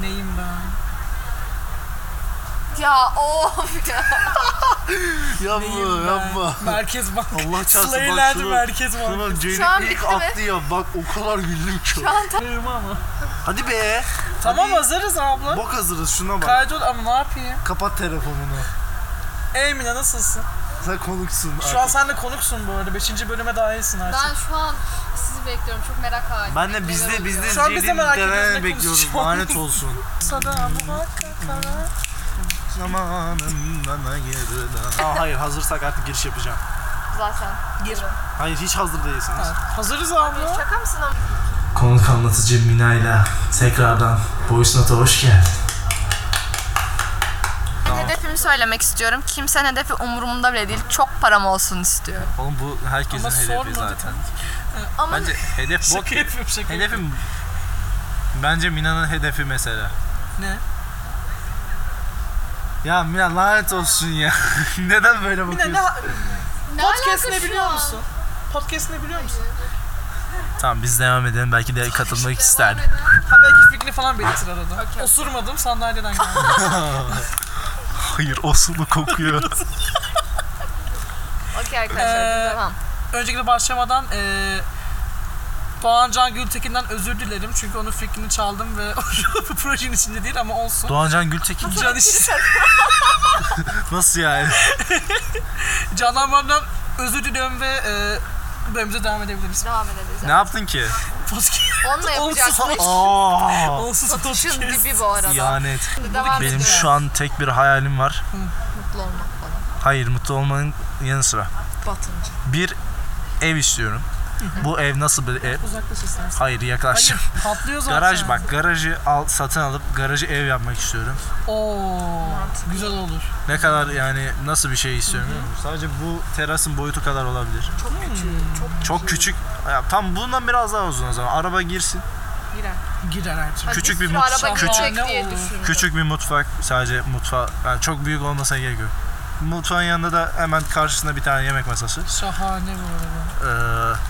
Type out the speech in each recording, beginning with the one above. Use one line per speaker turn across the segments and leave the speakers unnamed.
Neyim ben?
Ya of ya.
Neyim
Yapma yapma.
ben? Merkez Bank.
Allah çarpsın bak
Slayland
şuna.
Merkez Bank.
Şuna Ceylin
Şu an
ilk
bitti mi?
attı ya bak o kadar güldüm ki.
Şu an tam
Sığırım ama.
Hadi be.
Tamam
Hadi.
hazırız abla.
Bok hazırız şuna bak.
Kaydol ama ne yapayım?
Kapat telefonunu.
Emine nasılsın?
Sen konuksun
Şu an
artık.
sen de konuksun bu arada. Beşinci bölüme dahilsin artık.
ben şu an sizi bekliyorum. Çok merak halindeyim.
Ben de bizde bizde
Şu an biz de
Ceylin
merak ediyoruz,
Deren'i
ne
bekliyoruz.
konuşacak?
Lanet olsun.
Sana muhakkak
Zamanından ayrılan. Aa, hayır hazırsak artık giriş yapacağım.
Zaten.
Gir.
Hayır hiç hazır değilsiniz.
Hazırız abla.
Şaka mısın ama?
Konuk anlatıcı Mina ile tekrardan Boys Not'a hoş geldin.
Hedefimi söylemek istiyorum. Kimsenin hedefi umurumda bile değil. Çok param olsun istiyorum.
Oğlum bu herkesin
Ama
hedefi
sormadık.
zaten.
Ama
Bence hedef bok.
Şaka yapıyorum şaka yapıyorum.
Hedefim Bence Mina'nın hedefi mesela.
Ne?
Ya Mina lanet olsun ya. Neden böyle
Bir de
bakıyorsun?
ne?
ne
Podcast
alaka
ne
şu
biliyor
an?
musun? Podcast ne biliyor musun?
Tamam biz devam edelim. Belki de katılmak ister.
Devam eden-
Ha belki fikrini falan belirtir arada. Osurmadım sandalyeden geldim.
Hayır osulu kokuyor.
Okey arkadaşlar
Ee,
devam.
Öncelikle başlamadan eee Doğan Can Gültekin'den özür dilerim çünkü onun fikrini çaldım ve bu projenin içinde değil ama olsun.
Doğancan Gültekin
Can işi.
nasıl yani?
Canan Bam'dan özür diliyorum ve eee bölümümüze devam edebiliriz.
Devam edeceğiz.
ne yaptın ki?
Podcast.
Onunla
Olumsuz,
yapacaksın.
Aa,
Olumsuz
Şun
podcast.
dibi bu arada.
ihanet.
Devam
Benim
ediyorum.
şu an tek bir hayalim var.
Mutlu olmak bana.
Hayır mutlu olmanın yanı sıra.
Batıncı.
Bir ev istiyorum. Bu ev nasıl bir ev?
Uzaklaş istersen.
Hayır yaklaştım.
Hayır patlıyor zaten.
Garaj bak garajı al, satın alıp garajı ev yapmak istiyorum.
Oo güzel olur.
Ne kadar yani nasıl bir şey istiyorum biliyor musun? Sadece bu terasın boyutu kadar olabilir.
Çok küçük. Çok
Çok küçük. Ya, tam bundan biraz daha uzun o zaman. Araba girsin.
giren.
Girer her türlü.
Küçük
Hani
bir
sürü
mutfak,
araba
küçük-
girecek diye
Ne
düşündüm.
Küçük bir mutfak. Sadece mutfağı. Yani çok büyük olmasa gerek yok. Mutfağın yanında da hemen karşısında bir tane yemek masası.
Şahane bu arada.
Ee,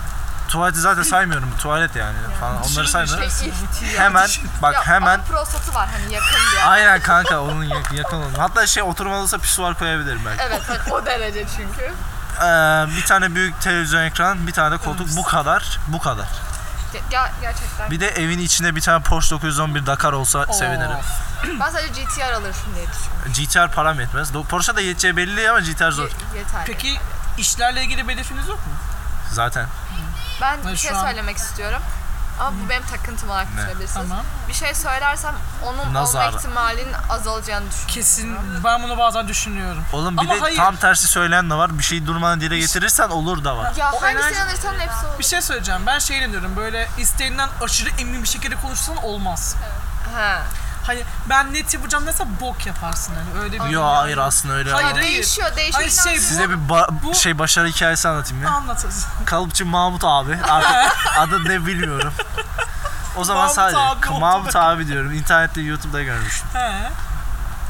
tuvaleti zaten saymıyorum. Tuvalet yani falan. Onları
Düşün, düşün.
saymıyorum.
Şey,
Hemen bak
Ya,
hemen
Ama prostatı var hani yakın diye.
Aynen kanka onun yak- yakın olun. Hatta şey oturmalıysa pisuar koyabilirim belki.
Evet hani o derece çünkü.
Ee, bir tane büyük televizyon ekran, bir tane de koltuk. Bu kadar, bu kadar.
Ge- ger- gerçekten.
Bir de evin içinde bir tane Porsche 911 Dakar olsa sevinirim.
Ben sadece GTR alırım diye düşünüyorum.
GTR param yetmez. Do- Porsche da yeteceği belli ama GTR zor.
Ye- yeter.
Peki işlerle ilgili bir hedefiniz yok mu?
Zaten.
Ben
Ha,
bir
şu
şey
an-
söylemek istiyorum. Ama bu benim takıntım olarak düşünebilirsiniz.
Tamam.
Bir şey söylersem onun
Nazar.
olma ihtimalinin azalacağını düşünüyorum.
Kesin ben bunu bazen düşünüyorum.
Oğlum bir
Ama
de
hayır.
tam tersi söyleyen de var. Bir şeyi durmadan dile getirirsen olur da var.
Ya
O
hangisini
enerji-
alırsan hepsi olur.
Bir şey söyleyeceğim. Ben şey diyorum böyle isteğinden aşırı emin bir şekilde konuşsan olmaz.
He.
Hani ben net yapacağım dese bok yaparsın hani öyle bir.
Yo hayır aslında öyle.
Hayır,
ama.
hayır.
Değişiyor, değişiyor.
Hayır, şey,
inanç-
Size bir ba-
Bu-
şey başarı hikayesi anlatayım ya.
Anlatırız.
Kalıpçı Mahmut abi. Artık adı ne bilmiyorum. O zaman
Mahmut
sadece
abi oldu.
Mahmut abi diyorum. İnternette YouTube'da görmüştüm.
He.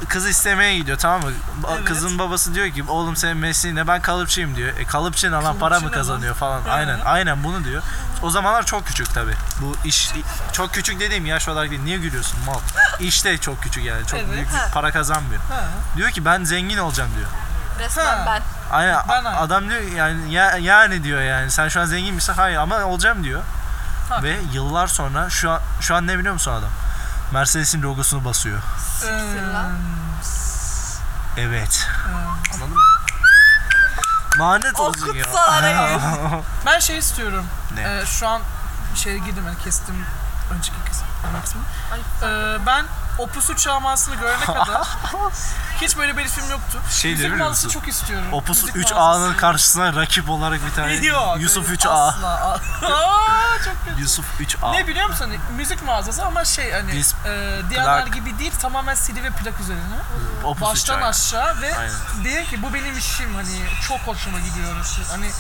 kız istemeye gidiyor tamam mı? Ba-
Evet.
Kızın babası diyor ki oğlum senin mesleğin ne ben kalıpçıyım diyor. E kalıpçı ne lan para
Kalıpçı
mı
ne
kazanıyor falan.
Hı.
Aynen aynen bunu diyor. O zamanlar çok küçük tabi. Bu iş çok küçük dediğim yaş olarak değil. Niye gülüyorsun mal? İşte çok küçük yani. Çok
Evet.
büyük
Ha.
para kazanmıyor.
He.
Diyor ki ben zengin olacağım diyor.
Resmen
Ha.
ben.
Aynen a-
Ben aynı.
adam diyor yani ya- yani diyor yani sen şu an zengin misin? Hayır ama olacağım diyor.
Ha.
Ve yıllar sonra şu an şu an ne biliyor musun adam? Mercedes'in logosunu basıyor.
Ee,
lan.
Evet.
Hmm.
Anladın mı? Lanet olsun ya.
Ben şey istiyorum.
Ne?
Ee, şu an şeye girdim hani kestim önceki kısmı. ana kısmı. Ee, ben Opus'u çalmasını görene kadar hiç böyle bir film yoktu.
Şey
Müzik
diyebilir
mağazası
misin?
çok istiyorum.
Opus
Müzik
3A'nın
mağazası.
karşısına rakip olarak bir tane
Yok,
Yusuf
öyle
3A.
Asla. Aa, çok kötü.
Yusuf 3A.
Ne biliyor musun? Müzik mağazası ama şey hani
Biz-
e, diğerler
plak-
gibi değil tamamen CD ve plak üzerine.
Opus
Baştan
3A.
aşağı ve
Aynen.
diyor ki bu benim işim hani çok hoşuma gidiyor orası. Hani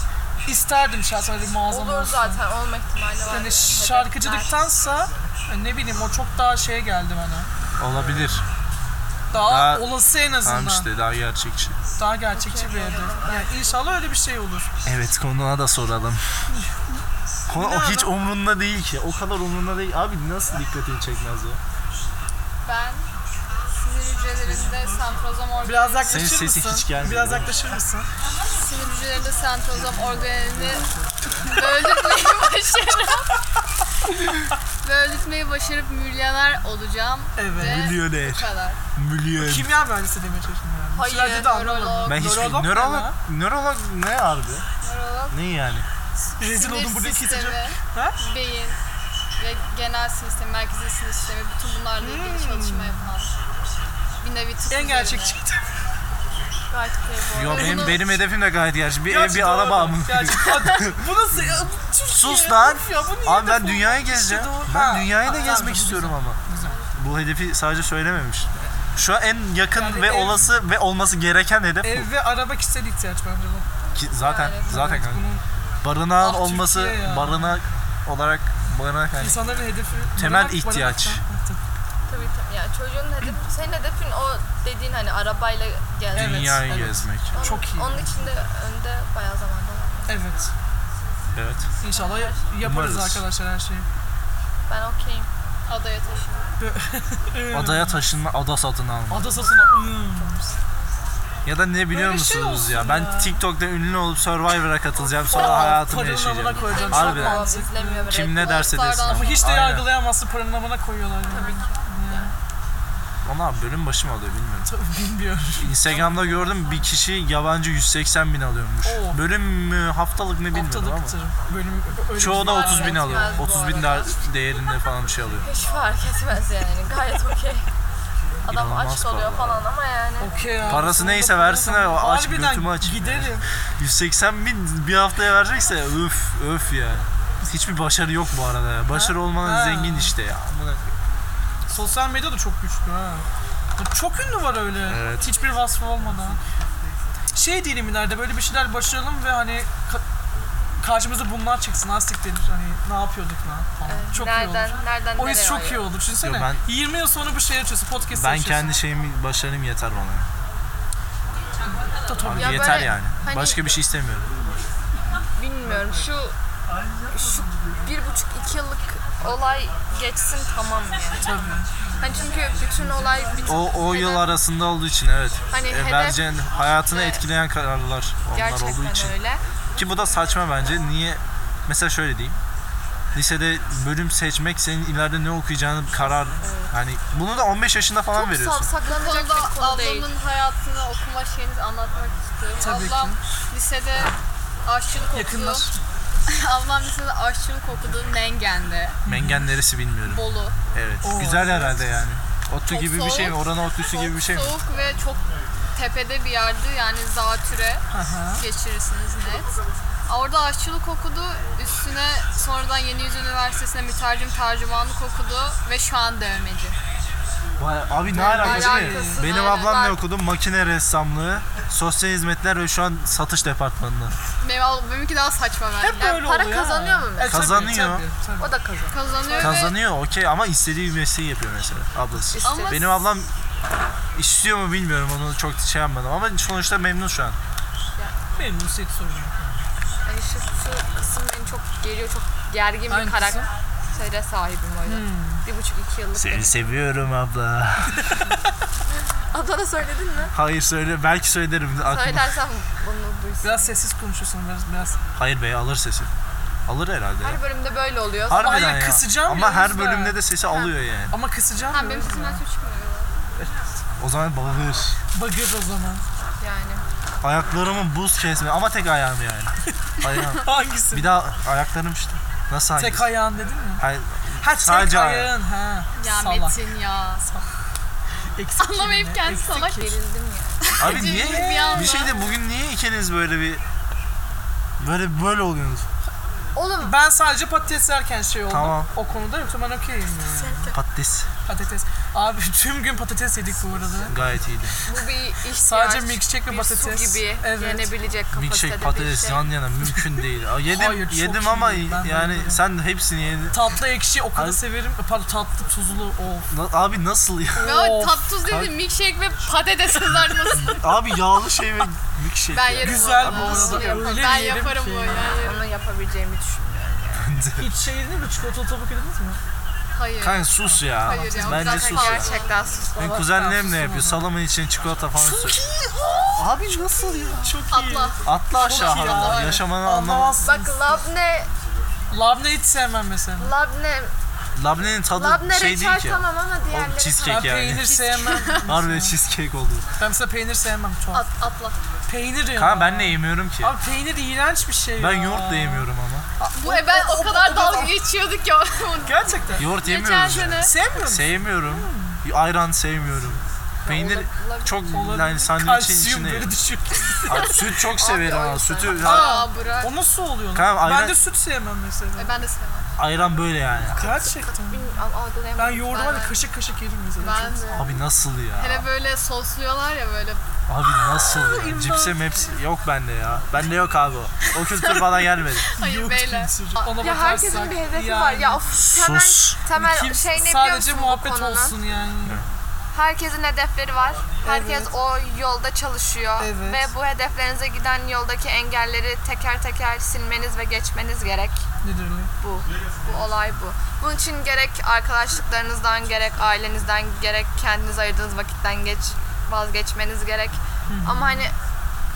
isterdim şahsen öyle bir mağazam
Olur
olsun.
zaten, olma ihtimali var.
Hani şarkıcılıktansa e, ne bileyim o çok daha şeye geldi bana.
Olabilir.
Daha,
Daha-
olası en azından.
Tamam işte daha gerçekçi.
Daha gerçekçi bir hedef. Yani inşallah öyle bir şey olur.
Evet konuğa da soralım. Konu o hiç umrunda değil ki. O kadar umrunda değil. Abi nasıl dikkatini çekmez ya?
Ben sinir hücrelerinde sentrozom organeli...
Biraz yaklaşır
Senin
mısın?
sesi hiç gelmiyor.
Biraz yaklaşır mısın?
Sinir hücrelerinde sentrozom organelini böldürmeyi başarıp... böldürmeyi başarıp milyoner olacağım.
Evet.
Ve
Milyoner.
bu kadar.
Milyon.
Kimya mühendisi demeye çalıştım yani. Bir şeyler
Hayır,
dedi anlamadım.
nörolog.
Ben hiç
Nörolog ne
nörolog
lan?
nörolog ne harbi?
Nörolog,
Ne yani?
Rezil
sinir
oldum burada
sistemi,
keseceğim. Ha?
beyin ve genel sinir sistemi, merkezi sinir sistemi bütün bunlarla ilgili çalışma yapan bir nevi tıp
Hmm. En
üzerine.
gerçekçi.
Gayet clever.
Yo
Ve
benim
bunu-
benim hedefim de gayet gerçi. Bir ev
Gerçi
bir
doğru.
araba mı?
Gerçi- Bu nasıl? ya? Bu Türkiye.
Sus lan.
Of ya, bu niye
Abi ben
hedef
dünyayı
olmuş?
gezeceğim.
İşte doğru.
Ben
Ha,
dünyayı da
tamam,
gezmek
güzel,
istiyorum ama.
güzel.
Bu hedefi sadece söylememiş. Şu an en yakın
Yani
ve
ev-
olası ve olması gereken hedef bu.
Ev ve araba kişisel ihtiyaç bence bu.
Ki zaten
Evet,
zaten
Evet,
kanka.
bunun
barınağın
Ah,
olması
Türkiye ya.
barınak olarak barınak yani.
insanların hedefi
Temel
barınak-
ihtiyaç.
barınak-
Tabii tabii. Yani çocuğun hedefi, senin hedefin o dediğin hani arabayla gelmek.
Evet,
Dünyayı
evet.
gezmek.
Onun-
çok iyi.
Onun için de önde bayağı zamanda var.
Evet.
Evet.
İnşallah yaparız
Umarız.
arkadaşlar her şeyi.
Ben okeyim.
Adaya taşındım.
Ee,
Adaya taşınma, ada satın alma.
Ada satına. Hmm.
Ya da ne biliyor
Böyle şey
musunuz ya?
olsun
Ben
ya.
TikTok'ta ünlü olup Survivor'a katılacağım. Sonra hayatımı
paranın
yaşayacağım.
amına koyacağım.
Harbiden.
Çok
Çok
mantıklı.
izlemiyor böyle.
Kim ne derse desin.
Kulaklardan
Ama hiç de
Aynen.
yargılayamazsın paranın amına koyuyorlar. Yani. Tabii
Ona bölüm başı mı alıyor bilmiyorum.
bilmiyorum.
Instagram'da gördüm bir kişi yabancı 180 bin alıyormuş.
Oo.
Bölüm mü haftalık mı bilmiyorum
Haftada
ama.
bitirim. Bölüm öyle
Çoğu da
bir-
30 bin alıyor.
Etmez bu
30 bin
arada.
değer- değerinde falan bir şey alıyor.
Hiç fark etmez yani. Gayet okey. Adam
İnanılmaz
aç oluyor
paralar.
falan ama yani.
Okey ya.
Parası
Sonunda
neyse
para
versin
kazan-
o aç
Harbiden
götümü açayım ya.
Giderim.
180 bin bir haftaya verecekse öf öf ya. Hiçbir başarı yok bu arada ya. Başarı olmanın
Ha.
zengin işte ya. Amına-
Sosyal medya da çok güçlü ha. Ya Çok ünlü var öyle.
Evet.
Hiçbir vasfı olmadan. Şey diyelim ileride böyle bir şeyler başaralım ve hani ka- karşımıza bunlar çıksın. Astik denir hani ne yapıyorduk lan falan. çok iyi
nereden,
olur.
nereden
O
nereye
his çok
varıyor?
iyi olur. Düşünsene.
Yo, ben-
20 yıl sonra bir şey açıyorsun. Podcast
Ben
açıyorsun.
kendi şeyimi başarım yeter bana.
Da tabii.
Abi
Ya
yeter
böyle
yani.
hani-
Başka bir şey istemiyorum.
Bilmiyorum şu şu bir buçuk iki yıllık olay geçsin tamam yani.
tabii.
Hani çünkü bütün olay bütün
O o yıl arasında olduğu için evet.
Hani
E,
hedef-
vereceğin hayatını
Evet.
etkileyen kararlar onlar olduğu için.
gerçekten öyle.
Ki bu da saçma bence. Niye? Mesela şöyle diyeyim. Lisede bölüm seçmek senin ileride ne okuyacağını karar hani bunu da 15 yaşında falan
Çok
veriyorsun.
Bu
savsaklanacak
konuda
bir konu değil.
ablamın hayatını okuma şeyini anlatmak istiyorum.
Tabii ki.
ablam lisede aşçılık okudu.
Yakınlar.
ablam lisede aşçılık okudu Mengen'de,
Mengen neresi bilmiyorum.
Bolu.
Evet.
Oo,
Güzel herhalde yani. Otu
Çok
gibi bir şey mi?
soğuk.
Oranın otüsü gibi bir şey mi?
Soğuk ve çok tepede bir yerdi yani zatüre
Aha.
geçirirsiniz net. Orada aşçılık okudu, üstüne sonradan Yeni Yüz Üniversitesi'ne mütercim tercümanlık okudu ve şu an dövmeci.
Vay, abi ne alakası ne?
alakası,
Benim
aynen.
ablam ne
Ben-
okudu? Makine ressamlığı, sosyal hizmetler ve şu an satış departmanında.
Benim, al- benimki daha saçma bence.
Hep
Yani
böyle
para
oluyor.
kazanıyor mu
E,
mesela?
tabii,
Kazanıyor.
tabii, tabii.
O da kazanıyor.
Kazanıyor, ve
Kazanıyor okey ama istediği bir mesleği yapıyor mesela ablası.
Ama-
Benim ablam istiyor mu bilmiyorum onu çok şey yapmadım ama sonuçta memnun şu an.
Benim Nusret sorun yok.
Hani şu, şu kısım beni çok geliyor. Çok gergin
Hangisi?
bir karaktere sahibim öyle.
Hmm.
Bir buçuk iki yıllık.
Seni seviyorum abla.
Ablana söyledin mi?
Hayır söyle belki söylerim. Aklıma.
Söylersem bunu duysun.
Biraz sessiz konuşuyorsun biraz. biraz.
Hayır bey alır sesi. Alır herhalde. ya.
Her bölümde böyle oluyor.
Harbiden
Hayır,
ya.
kısacağım
Ama
ya,
her
lütfen.
bölümde de sesi alıyor yani.
Ama kısacağım.
Ha, benim
diyorum
sesimden
ya.
su çıkmıyor.
O zaman bağırır.
Bagır o zaman.
Yani.
Ayaklarımın buz kesme ama tek ayağım yani. Ayağım.
Hangisi?
Bir daha ayaklarım işte. Nasıl hangisi?
Tek ayağın dedin mi?
Hayır,
Ha tek
Sadece ayağı.
ayağın. Ha.
Ya
Salak.
Metin ya.
Eksik
Anlamayıp
kelime,
kendi
eksik
salak
kelime.
Gerildim ya.
Abi
Acemiyiz
niye?
bir anda.
Bir şey de bugün niye ikiniz böyle bir böyle böyle oluyorsunuz?
Oğlum
Ben sadece patates yerken şey oldum.
Tamam.
O konuda yoksa ben okeyim yani.
Patates
Patates. Abi tüm gün patates yedik bu arada.
gayet iyiydi.
bu bir ihtiyaç.
Sadece milkshake ve
bir su
patates.
gibi
Evet.
yenebilecek kapasitede
Milkshake
bir
patates
şey.
yan yana mümkün değil. Aa, Yedim
Hayır, çok
yedim
iyi.
ama
Ben de
yani
yedim.
sen hepsini yedin.
Tatlı ekşi o kadar
Abi-
severim. Pardon tatlı tuzlu of.
Na- Abi nasıl ya?
Ya
Of.
tatsız dedim milkshake ve patates kızartması.
Abi yağlı şey ve milkshake.
ben
ya.
yerim
Güzel
bu
bu
arada.
arada.
Yaparım.
Öyle
Ben
yerim
yaparım
ki.
bu yani.
Onu yapabileceğimi düşünüyorum.
Hiç şey yediniz mi? Çikolatalı tabak yediniz mi?
Hayır.
Kanka sus ya.
Hayır ya,
Bence
zaten
sus ya.
Gerçekten sus.
Benim
Allah
kuzenlerim
kahretsin
ne yapıyor?
onu.
Salamın içine çikolata falan sür.
Abi nasıl ya? Çok iyi.
Atla.
Atla aşağı.
iyi
hadi.
ya.
Yaşamanı anlamaz.
Anlamazsın.
Bak labne,
Labne hiç sevmem mesela.
labne,
Labnenin tadı
labne
şey değil
reçel
ki.
tamam ama
O
diğerleri...
Ben
cheesecake yani.
peynir sevmem.
Harbiden cheesecake oldu.
ben mesela peynir sevmem çok.
At, atla.
Peynir ya.
Kanka ben ne yemiyorum ki?
Abi peynir iğrenç bir şey
Ben
ya.
yoğurt da yemiyorum ama.
Bu e ben o kadar dalga geçiyorduk ya.
Gerçekten.
Yoğurt
Geçen
yemiyoruz yani.
sene.
Sevmiyor musun?
Sevmiyorum. Ayran sevmiyorum. Peynir çok yani sandviçin
Kalsiyum
içine.
böyle düşüyor.
Ay, süt çok severim
o
ama
yüzden.
sütü
Aa bırak.
O nasıl oluyor lan?
Kanka ayran-
Ben de süt sevmem mesela.
E ben de sevmem.
ayran böyle yani.
Gerçekten.
Bilmiyorum, algılayamadım.
Ben yoğurdu var ya
Ben-
kaşık kaşık yerim mesela.
Ben
Çok-
de.
Abi nasıl ya?
Hele böyle sosluyorlar ya böyle.
Abi nasıl ya? Cipse mepsi yok bende ya. Bende yok abi o. O kültür bana gelmedi.
Hayır
Yoğurt
beyler.
kültürü. Ona
Ya herkesin
bakarsak
bir hedefi
yani.
var. Ya of temel,
Sus.
temel
Kim-
şey ne biliyor
sadece
musun bu
muhabbet
konunun?
olsun yani.
Herkesin hedefleri var. Herkes o yolda çalışıyor.
Evet.
Ve bu hedeflerinize giden yoldaki engelleri teker teker silmeniz ve geçmeniz gerek.
Nedir öyle?
bu. Bu olay bu. Bunun için gerek arkadaşlıklarınızdan, gerek ailenizden, gerek kendiniz ayırdığınız vakitten geç vazgeçmeniz gerek. Ama hani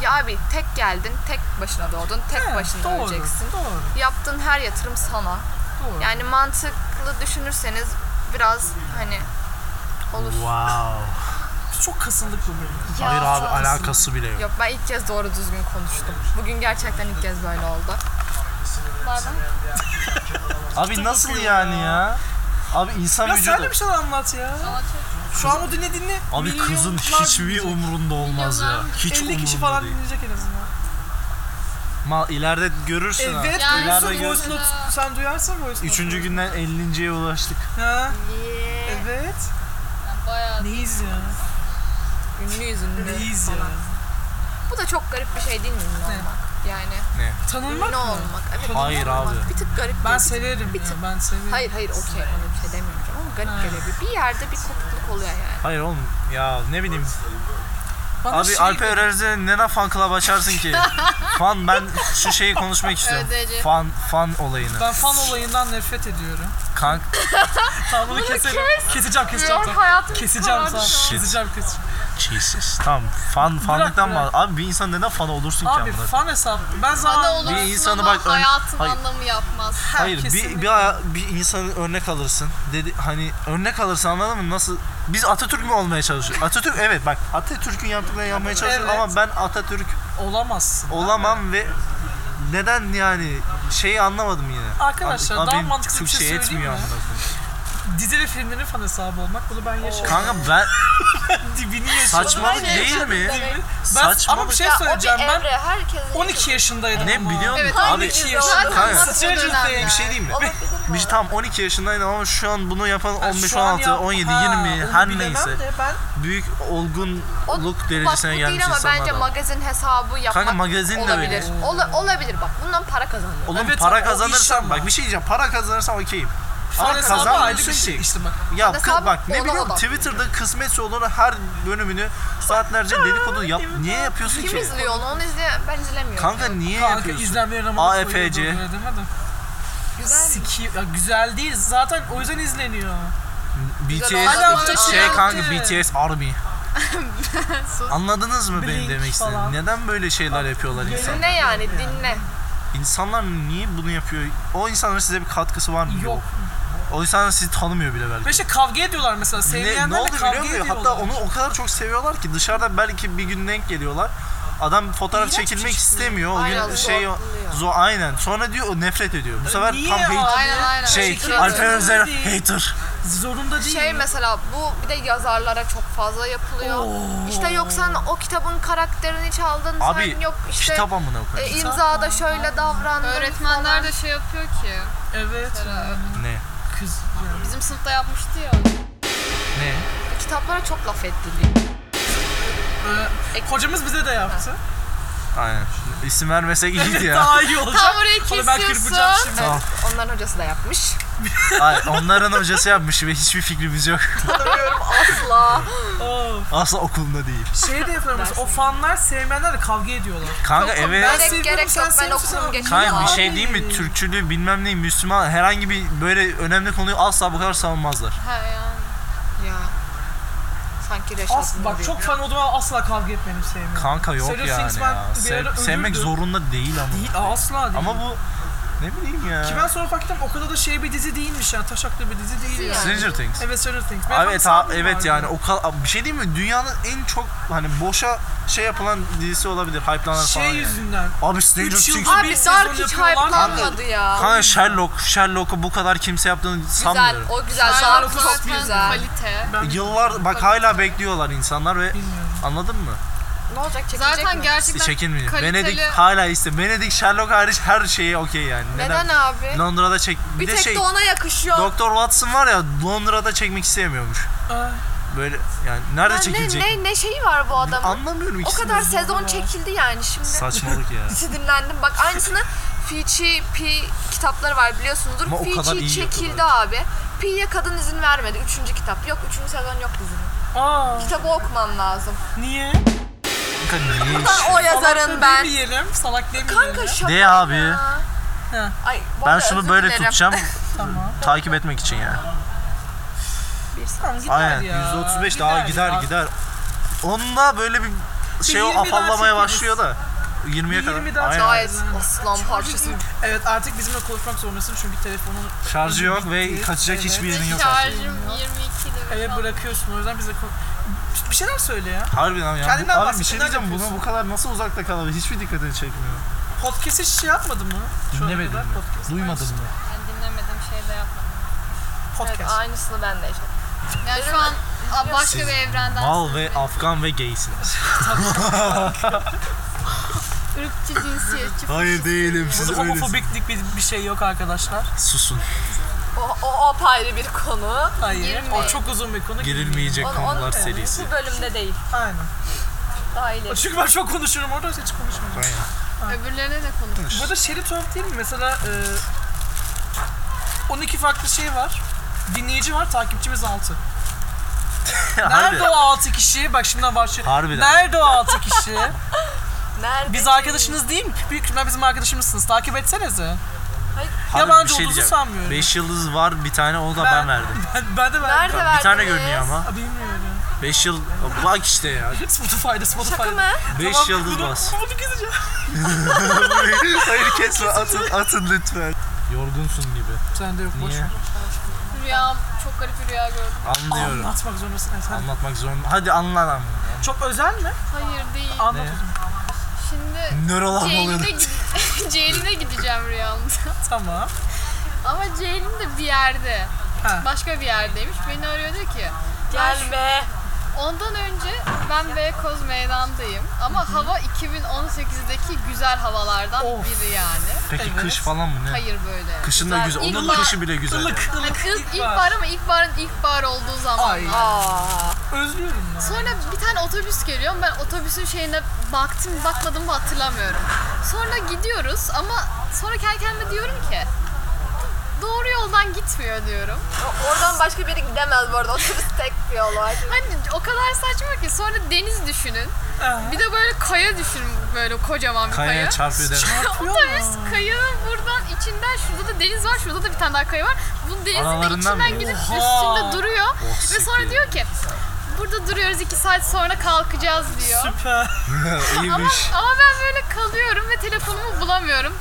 ya abi tek geldin, tek başına doğdun, tek
He,
başına
doğru,
öleceksin.
Doğru.
Yaptığın her yatırım sana.
Doğru.
Yani mantıklı düşünürseniz biraz hani olur.
Wow.
Çok kasıldık bu bölüm.
Ya,
Hayır abi alakası bile yok.
Yok ben ilk kez doğru düzgün konuştum. Bugün gerçekten ilk kez böyle oldu.
Abi nasıl yani ya? Abi insan
Ya sen de
vücudu...
bir şey- şeyler anlat ya. Şu an bu dinle dinle.
Abi kızın
milyonlar
hiçbir
dinleyecek.
umurunda olmaz ya. Hiç
50 kişi
umurunda
falan
değil.
dinleyecek en azından.
Ma ileride görürsün ha.
Evet,
Yani
duyuyorsun
ileride
voice
görürsün.
gör-
note. Sen duyarsın voice note.
Üçüncü günden 50.ye ulaştık.
Ha, evet.
Yani bayağı
Neyiz ya?
Ünlüyüz ünlü.
Neyiz ya?
falan. Bu da çok garip bir şey değil mi ünlü
Ne?
olmak? Yani
Tanınmak
Ne
mı?
olmak? Evet,
Hayır
ne olmak?
abi.
Bir tık garip.
Ben
geliyor.
severim
Bir
ya,
tık-
ben severim.
Hayır hayır okey ona bir şey demiyorum ama garip geliyor. Bir yerde bir kopukluk oluyor yani.
Hayır oğlum ya ne bileyim.
Bana
Abi
şey-
Alper Erez'e neden fan club açarsın ki? fan ben şu şeyi konuşmak istiyorum.
Ödeci.
fan fan olayını.
Ben fan olayından nefret ediyorum.
Kank
Tamam bunu keselim. Keseceğim keseceğim. tamam.
hayatım
Keseceğim sana.
Shit.
Keseceğim keseceğim.
Jesus. Tamam fan fanlıktan mı?
bırak.
Abi bir insan neden fan olursun ki
Abi
amına?
fan hesap. Ben
Bana
zaten
olursun
Bir insanı
ama
bak ön-
hayatın
Hayır.
anlamı yapmaz.
Hayır bir,
kesinlikle.
bir, aya- bir insanı örnek alırsın. Dedi hani örnek alırsın anladın mı? Nasıl biz Atatürk mü olmaya çalışıyoruz? Atatürk evet bak Atatürk'ün yaptıklarını yapmaya çalışıyoruz
Evet.
ama ben Atatürk
olamazsın.
olamam ve neden yani şeyi anlamadım yine.
Arkadaşlar,
Abi- abi
daha
benim
mantıklı bir şey
Türkçe
söyleyeyim
yetmiyor
mi?
amına koyayım.
Dizi ve filmlerin fan hesabı olmak bunu ben yaşadım.
Kanka ben
Dibini yaşadım.
saçmalık
Aynen.
değil mi?
Ben, ama
Saçmalık.
bir şey söyleyeceğim ben
herkesin
12 yaşındaydım
Ne
ama.
biliyor musun?
Evet,
Abi
12
Zaten
yaşındaydım.
Kanka.
nasıl
Stranger
dönemler?
Things.
bir şey diyeyim mi?
Olabilir
Biz tam 12 yaşındaydım ama şu an bunu yapan
Yani
15,
şu an
16,
yap-
17,
Ha,
20
onu
her
bilemem
neyse.
de ben
Büyük olgunluk
Bak bu
derecesine gelmiş
değil ama bence
insanlar var.
magazin hesabı yapmak
Kanka magazin de
olabilir.
öyle.
Ola- olabilir bak bundan para kazanıyor.
Oğlum
Evet
para
ama o iş
kazanırsan
ama.
bak bir şey diyeceğim para kazanırsam okeyim.
fan
Ama
hesabı ayrı
kazanmıyorsun
bir şey.
ki.
İşte bak.
Ya
Fan
kız
hesabı
bak ne
ona
biliyorum
bak.
Twitter'da kısmetse olur her bölümünü saatlerce dedikodu yap. Niye yapıyorsun
Kim
ki?
izliyor onu? Onu izleyen ben izlemiyorum.
Kanka niye
Kanka
yapıyorsun? E
izlenmeyen ama
AFC.
koyuyordu, öyle deme de.
Güzel.
Siki, ya güzel değil zaten o yüzden izleniyor.
olan
BTS
Hala hafta
şey
çıkarttı.
kanka BTS Army. Anladınız mı benim
Blink
demek istediğimi?
falan.
Neden böyle şeyler yapıyorlar insan?
Dinle yani dinle.
İnsanlar niye bunu yapıyor? O insanların size bir katkısı var mı?
Yok.
O insanlar sizi tanımıyor bile belki.
Ve işte kavga ediyorlar mesela.
Ne, ne
Sevmeyenlerle
oldu
kavga
biliyor musun?
ediyorlar.
Hatta onu o kadar çok seviyorlar ki dışarıda belki bir gün denk geliyorlar. Adam fotoğraf
İğrenç bir
çekilmek
şey.
istemiyor. O
Aynen,
gün şey o-
zorluyor.
zo aynen. Sonra diyor o nefret ediyor. Bu sefer
Niye
tam
abi?
hate,
Aynen aynen.
şey
Teşekkür
Alper
ederim.
Özel
Değil.
hater.
Zorunda değil.
Şey mesela bu bir de yazarlara çok fazla yapılıyor. İşte yok sen o kitabın karakterini çaldın
Abi
sen yok işte
kitap amına
e,
koyayım.
imzada şöyle davrandın.
Öğretmenler
falan.
de şey yapıyor ki.
Evet.
Mesela
e-
Ne?
Kız.
bizim sınıfta yapmıştı ya.
Ne?
kitaplara çok laf ediliyor.
Ee, hocamız bize de yaptı.
Aynen. İsim vermesek iyiydi ya.
Daha iyi olacak.
Tam orayı
Sonra ben
kesiyorsun.
kırpacağım şimdi.
Tamam.
Onların hocası da yapmış.
Ay, onların hocası yapmış ve hiçbir fikrimiz yok.
Tanımıyorum asla.
Oo.
Asla okulunda değil.
Şey de yapıyorlar mesela o fanlar sevmeyenler de kavga ediyorlar.
Kanka
Yok,
evet.
ben
Gerek-
seviyorum,
gerek
sen
yok, ben
seviyorsun
okurum
ama-
geçiyorum.
Kanka bir
Abi.
şey değil mi? Türkçülüğü bilmem ne Müslüman herhangi bir böyle önemli konuyu asla bu kadar savunmazlar.
Ha yani.
ya. Sanki
As,
Reşat'ın
bak çok fan olduğuma asla kavga etmedim sevmiyorum.
Kanka yok
Stranger
yani
Things
ya.
ben bir
Sev-
ara öldürdü.
sevmek zorunda değil ama.
Değil asla değil.
Ama bu ne bileyim ya.
Ki ben sonra fark ettim o kadar da şey bir dizi değilmiş yani taşaklı bir dizi değil yani.
Stranger Things.
Evet Stranger Things. Ben
Evet
tam
ha,
sanmıyorum
evet
abi.
yani o kadar bir şey değil mi? Dünyanın en çok hani boşa şey yapılan dizisi olabilir, hype'lanan falan.
Şey
yani.
yüzünden.
Abi Stranger
Üç yıl-
Things.
Bir
Abi
sezon
Dark hiç
yapıyorlar.
hype'lanmadı ya.
Kanka Sherlock, Sherlock'u bu kadar kimse yaptığını
Güzel,
sanmıyorum. E,
o güzel.
Aynen,
Dark çok
zaten
güzel.
Kalite.
Ben
Yıllar bak hala bekliyorlar insanlar ve
bilmiyorum.
anladın mı?
Ne olacak çekilecek
Zaten
mi?
gerçekten
Çekinmiyor.
kaliteli-
Benedict hala iste. Benedict Sherlock hariç her şeye okey yani.
Neden abi?
Londra'da çek. Bir,
Bir
de
tek
şey
de ona yakışıyor.
Doktor Watson var ya Londra'da çekmek istemiyormuş.
Ay,
Böyle yani nerede
Ya ne,
çekilecek?
ne, ne şeyi var bu adamın?
Anlamıyorum
O
ikisini.
kadar sezon çekildi yani şimdi.
Saçmalık ya.
Sinirlendim. Bak aynısını Fiji P kitapları var biliyorsunuzdur.
Ama o kadar iyi
Fiji çekildi
yapıyorlar.
abi. P'ye kadın izin vermedi. Üçüncü kitap. Yok üçüncü sezon yok dizinin.
Aa,
Kitabı okumam lazım.
niye?
Kanka niye?
Lan o yazarın
Salak
ben.
Demeyelim, salak demeyelim.
Kanka şaka
De abi.
ya.
Heh.
Ay, bu
Ben
arada
şunu
özür
böyle
dilerim.
tutacağım
Tamam.
takip etmek için yani.
Tamam gider
Aynen.
ya.
%35 daha gider
ya.
gider. Onda böyle bir şey o
20 daha
afallamaya
çekeriz.
başlıyor da. 20'ye
Bir
kadar.
20 daha
Aynen.
Gayet
Aynen.
aslan parçası.
Evet artık bizimle konuşmak zorundasın çünkü telefonun
Şarjı yok ve kaçacak
Evet.
hiçbir yerin yok artık.
Şarjım 22'de.
eve bırakıyorsun o yüzden bize kon- bir şeyler söyle ya.
Harbiden ya. Bu,
Kendinden
abi bir
bahset,
şey
neler
diyeceğim buna
yapıyorsun?
bu kadar nasıl uzakta kalabilir? Hiçbir dikkatini çekmiyor.
Podcast hiç şey yapmadın mı? Şu ana
Dinlemedin
kadar
mi?
Podcast.
Duymadın mı?
Ben dinlemedim şey de yapmadım.
Podcast.
Evet, aynısını ben de yaşadım.
Yani şu an a, başka
Siz
bir evrenden.
Mal ve Afgan ve gaysiniz.
ırkçı, cinsiyetçi.
Hayır değilim siz
Burada homofobiklik bir, bir şey yok arkadaşlar.
Susun.
O, o apayrı bir konu.
Hayır.
Girmeyin.
O çok uzun bir konu.
Girilmeyecek
Onu-
konular
onu-
serisi.
Bu bölümde değil.
Aynen.
Daha ileri.
Çünkü ben çok konuşurum orada hiç konuşmayacağım.
Aynen.
Öbürlerine de konuşuyor.
Bu arada şey de tuhaf değil mi? Mesela e, 12 farklı şey var. Dinleyici var, takipçimiz 6.
Harbi.
Nerede o 6 kişi? Bak şimdiden başlıyor.
Harbiden.
Nerede o 6 kişi?
Nerede?
Biz arkadaşınız değil mi? Büyük ihtimal bizim arkadaşımızsınız. Takip etsenize.
Harbi
Yabancı
bir şey
olduğunuzu
diyeceğim.
sanmıyorum.
Beş yıldız var bir tane o da ben,
Ben-
verdim.
Ben, ben de ben.
Nerede
Bir tane
verdiniz?
görünüyor ama.
Aa, Bilmiyorum.
Beş yıl... Bak işte ya.
Spotify'da, Spotify'da.
Şaka mı?
Beş yıldız
bunu,
bas.
Bunu keseceğim.
Hayır kesme atın atın lütfen. Yorgunsun gibi.
Sende yok boş
Niye?
ver.
Rüyam, çok garip bir rüya gördüm.
Anlıyorum.
Anlatmak zorundasın. Evet, hadi.
Anlatmak zorunda. Hadi anlat ama.
Çok özel mi?
Hayır değil.
Anlat
Ne?
o zaman.
Şimdi
Nörolan
Ceylin'e gid- Ceylin'e gideceğim rüyamda.
Tamam.
Ama Ceylin de bir yerde.
Ha.
Başka bir yerdeymiş. Beni arıyor diyor ki. "Ya şu-
Gelme.
Ondan önce ben Beykoz meydandayım. Ama hava 2018'deki güzel havalardan
Of.
biri yani.
Peki
Evet.
kış falan mı ne?
Hayır böyle.
Kışın da güzel. Onun
İlkbahar-
kışı bile güzel.
Ilık,
yani.
ılık.
Kız
ilkbahar.
ilkbahar ama ilkbaharın ilkbahar olduğu zaman.
Ay.
Aa.
Özlüyorum ya.
Sonra bir tane otobüs geliyor. Ben otobüsün şeyine baktım bakmadım mı hatırlamıyorum. Sonra gidiyoruz ama sonra kendi kendime diyorum ki doğru yoldan gitmiyor diyorum.
O- Oradan başka biri gidemez bu arada. Otobüs tek bir yol var.
Hani o kadar saçma ki sonra deniz düşünün.
Ee,
Bir de böyle kaya düşünün böyle kocaman bir kaya.
Kayaya çarpıyor deme.
Yapıyor mu?
Otobüs kayanın buradan içinden şurada da deniz var şurada da bir tane daha kaya var. Bunun denizin de
Aralarından
içinden
mı?
gidip
Oha!
üstünde duruyor. ve sonra
siktir.
diyor ki burada duruyoruz iki saat sonra kalkacağız diyor.
Süper.
İyiymiş.
Ama ben böyle kalıyorum ve telefonumu bulamıyorum.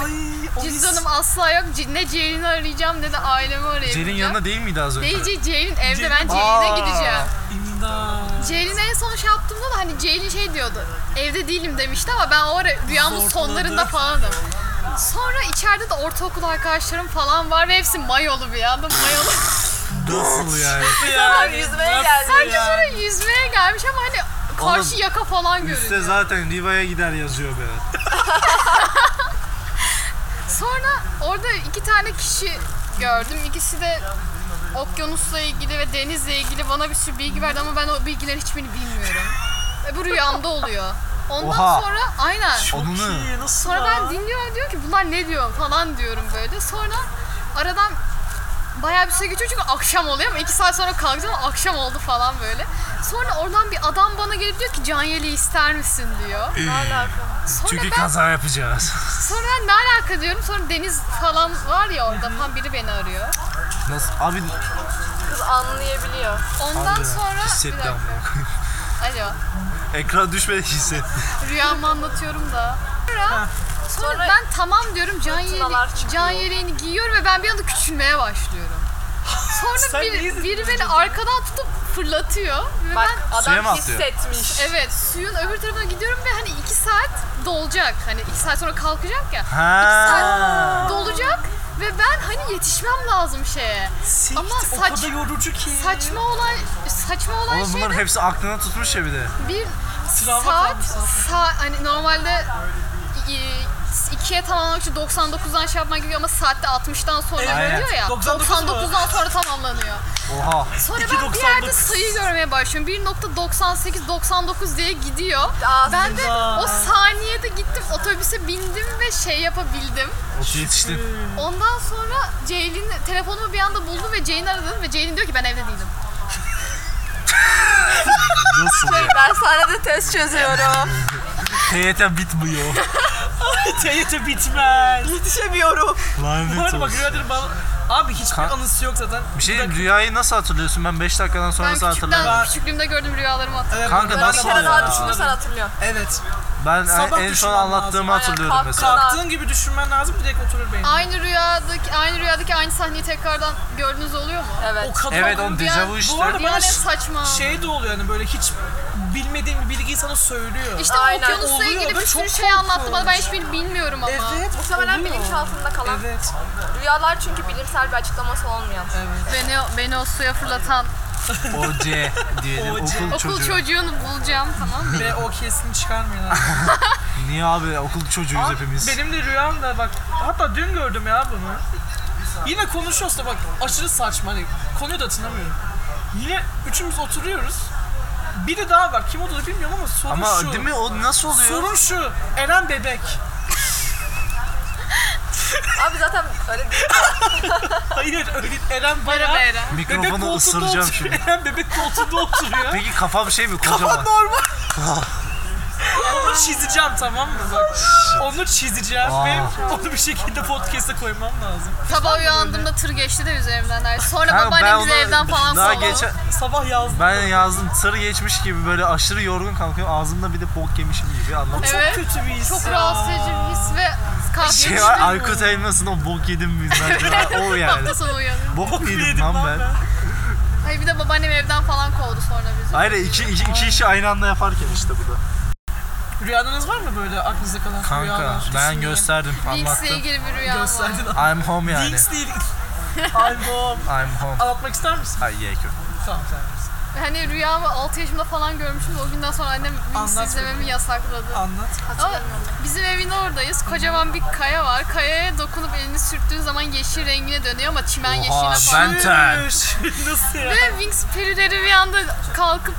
Ay, o his.
Cüzdanım asla yok. C- Ne Ceylin'i arayacağım ne de ailemi arayacağım.
Celin yanında değil miydi az önce?
Değil Ce- Ceylin evde ben
Ceylin-
Ceylin'e
Aa.
gideceğim.
İmdat.
Ceylin'e en son şey yaptığımda da hani Ceylin şey diyordu. Evde değilim demişti ama ben o ara rüyamın
Zorladı.
sonlarında falanım. Sonra içeride de ortaokul arkadaşlarım falan var ve hepsi mayolu bir anda mayolu.
Nasıl yani?
Yani,
yüzmeye
nasıl
geldi.
yani?
Böyle yüzmeye gelmiş ama hani karşı
Oğlum,
yaka falan
Üste
görünüyor.
zaten Riva'ya gider yazıyor be.
Sonra orada iki tane kişi gördüm. İkisi de okyanusla ilgili ve denizle ilgili bana bir sürü bilgi verdi ama ben o bilgilerin hiçbirini bilmiyorum. ve bu rüyamda oluyor. Ondan
Oha.
sonra aynen.
Çok
Onu ne?
iyi, nasıl
Sonra
ya?
ben dinliyorum diyor ki bunlar ne diyor falan diyorum böyle. Sonra aradan
bayağı bir süre geçiyor çünkü akşam oluyor ama iki saat sonra kalkacağım ama akşam oldu falan böyle. Sonra oradan bir adam bana gelip diyor ki Canyeli ister misin diyor.
Ne alaka?
Sonra
Çünkü
ben
kaza yapacağız.
sonra ben ne alaka diyorum. Sonra deniz falan var ya orada falan biri beni arıyor.
Nasıl? Abi
Kız anlayabiliyor.
Ondan
Harbiden
sonra bir
hissetti
dakika.
ama.
Alo.
Ekran düşmedi hissetti.
Rüyamı anlatıyorum da.
Ha.
Sonra, sonra ben tamam diyorum can
Fırtınalar
yeleğini,
çıkıyor.
can yeleğini giyiyorum ve ben bir anda küçülmeye başlıyorum.
Sen
Sonra
neyisin
bir, biri beni arkadan tutup fırlatıyor ve
Bak
Suya
ben
adam
mı atlıyor?
hissetmiş.
evet suyun öbür tarafına gidiyorum ve hani iki saat dolacak. Hani iki saat sonra kalkacak ya.
Ha.
Dolacak ve ben hani yetişmem lazım şeye.
Sit,
Ama
o
saç-
kadar yorucu ki.
Saçma olay saçma olay
Oğlum
şey
bunların hepsi aklına tutmuş ya bir de.
bir
Sırava
saat,
kalmış zaten.
saat hani normalde i- ikiye tamamlamak için 99'dan şey yapman gerekiyor ama saatte 60'dan sonra
Evet.
oluyor ya.
99 mu?
99'dan sonra tamamlanıyor.
Oha.
Sonra
İki
ben bir yerde
99.
sayı görmeye başlıyorum. 1.98 99 diye gidiyor.
Aa,
Ben de
Aa.
o saniyede gittim otobüse bindim ve şey yapabildim.
Ot yetiştin.
Ondan sonra Ceylin telefonumu bir anda buldu ve Ceylin aradım ve Ceylin diyor ki ben evde değilim.
Nasıl ya?
Ben sahnede test çözüyorum.
TYT bitmiyor.
TYT bitmez.
Yetişemiyorum.
Bu
Lanet
arada bak
olsun.
rüyadır bana... Abi hiçbir
Ka-
anısı yok zaten.
Bir şey
Bir
diyeyim,
dakika.
rüyayı nasıl hatırlıyorsun? Ben 5 dakikadan
Ben
sonrası hatırlamıyorum.
küçükten,
hatırlamıyorum.
küçüklüğümde gördüğüm rüyalarımı hatırlıyorum.
Evet,
Kanka
ben
nasıl
de
Bir kere
bazen
daha
ya?
düşünürsen
hatırladım.
hatırlıyorsun.
Evet.
Ben
Sabah
en son
düşünmem lazım.
anlattığımı
Aynen,
hatırlıyorum
kalk-
mesela.
Kalktığın gibi düşünmen lazım direkt oturur beyin.
Aynı rüyadaki aynı rüyadaki aynı sahneyi tekrardan gördüğünüz oluyor mu?
O
Evet.
kadar
Evet
Oğlum
on
bir
dejavu
an-
işte.
Bu arada
Dünyanın
bana
en
ş-
saçma.
şey de oluyor hani böyle hiç bilmediğin bir bilgiyi sana söylüyor.
işte
Aynen,
okyanusla
oluyor
ilgili
ve çok
bir sürü şey anlattı bana. Ben
korkunç.
hiçbirini bilmiyorum ama.
evet.
Muhtemelen
oluyor.
bilinçaltında kalan.
Evet.
Rüyalar çünkü bilimsel bir açıklaması olmayan.
Evet.
Beni, beni o suya fırlatan
OC diyelim.
OC.
Okul,
okul
çocuğu.
çocuğunu bulacağım tamam mı?
Ve o kesin çıkarmayın abi.
Niye abi okul çocuğuyuz
Abi,
hepimiz.
Benim de rüyam da bak hatta dün gördüm ya bunu. Yine konuşuyoruz da bak aşırı saçma hani konuyu da hatırlamıyorum. Yine üçümüz oturuyoruz. Biri daha var. Kim olduğunu bilmiyorum ama sorun
Ama
şu.
değil mi o nasıl oluyor?
Sorun şu. Eren bebek.
Abi zaten öyle değil.
Hayır öyle Eren bayağı.
Merhaba Eren.
Bebek
Mikrofonu
koltuğunda
ısıracağım
oturuyor.
şimdi.
Eren bebek koltuğunda oturuyor.
Peki kafam şey mi
Ama
kocaman?
normal.
Ah.
onu çizeceğim tamam mı bak. Onu çizeceğim ve
Aa.
onu bir şekilde podcast'e koymam lazım.
Sabah uyandığımda tır geçti de üzerimden. der. Sonra
Ha,
babaannem bizi
ona
evden falan
daha
kovdu.
geçen,
Sabah yazdım.
ben yazdım sır geçmiş gibi böyle aşırı yorgun kalkıyorum ağzımda bir de bok yemişim gibi anladın mı?
Evet.
Çok kötü bir his
Çok
ya.
rahatsız edici bir his ve kahve
Şey
içtim.
var Aykut Elmas'ın o bok yedim biz o yani.
Hafta sonu uyanıyorum.
Bok yedim
yedim
lan
lan
ben.
ben.
Hayır bir de babaannem evden falan kovdu sonra bizi.
Hayır iki, iki, iki işi aynı anda yaparken işte bu da.
Rüyanız var mı böyle aklınızda kalan
Kanka
rüyalar?
ben
Kesin
gösterdim
Binks'le
anlattım.
ilgili bir rüyam var.
Gösterdin.
I'm home yani.
Links değil. Albüm.
I'm home.
Anlatmak ister misin?
Ay ye köpek.
Tamam sen bilirsin.
Hani rüyamı 6 yaşımda falan görmüşüm de o günden sonra annem Winx
Anlat
izlememi yasakladı.
Anlat.
Ama bizim evin oradayız. Kocaman bir kaya var. Kayaya dokunup elini sürttüğün zaman yeşil rengine dönüyor ama çimen yeşiline falan.
Ben ten.
Üş, Nasıl ya?
Ve Winx perileri bir anda kalkıp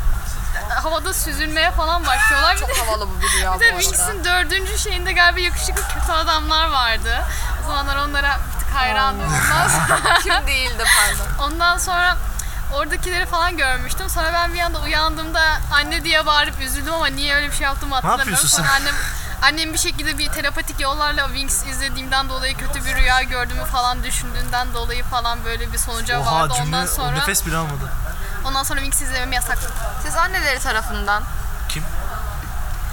e, havada süzülmeye falan başlıyorlar. Bir de,
Çok havalı bu bir rüya
bir
bu
de
arada.
Winx'in dördüncü şeyinde galiba yakışıklı kötü adamlar vardı. O zamanlar onlara bir tık hayrandım. Ondan sonra-
Kim değildi pardon.
Ondan sonra oradakileri falan görmüştüm. Sonra ben bir anda uyandığımda anne diye bağırıp üzüldüm ama niye öyle bir şey yaptığımı hatırlamıyorum.
yapıyorsun
sonra annem annem bir şekilde bir telepatik yollarla Wings izlediğimden dolayı kötü bir rüya gördüğümü falan düşündüğünden dolayı falan böyle bir sonuca vardı.
Oha
Ondan
cümle o
sonra
nefes bile almadı.
ondan sonra Wings izlememi yasakladı.
Siz anneleri tarafından.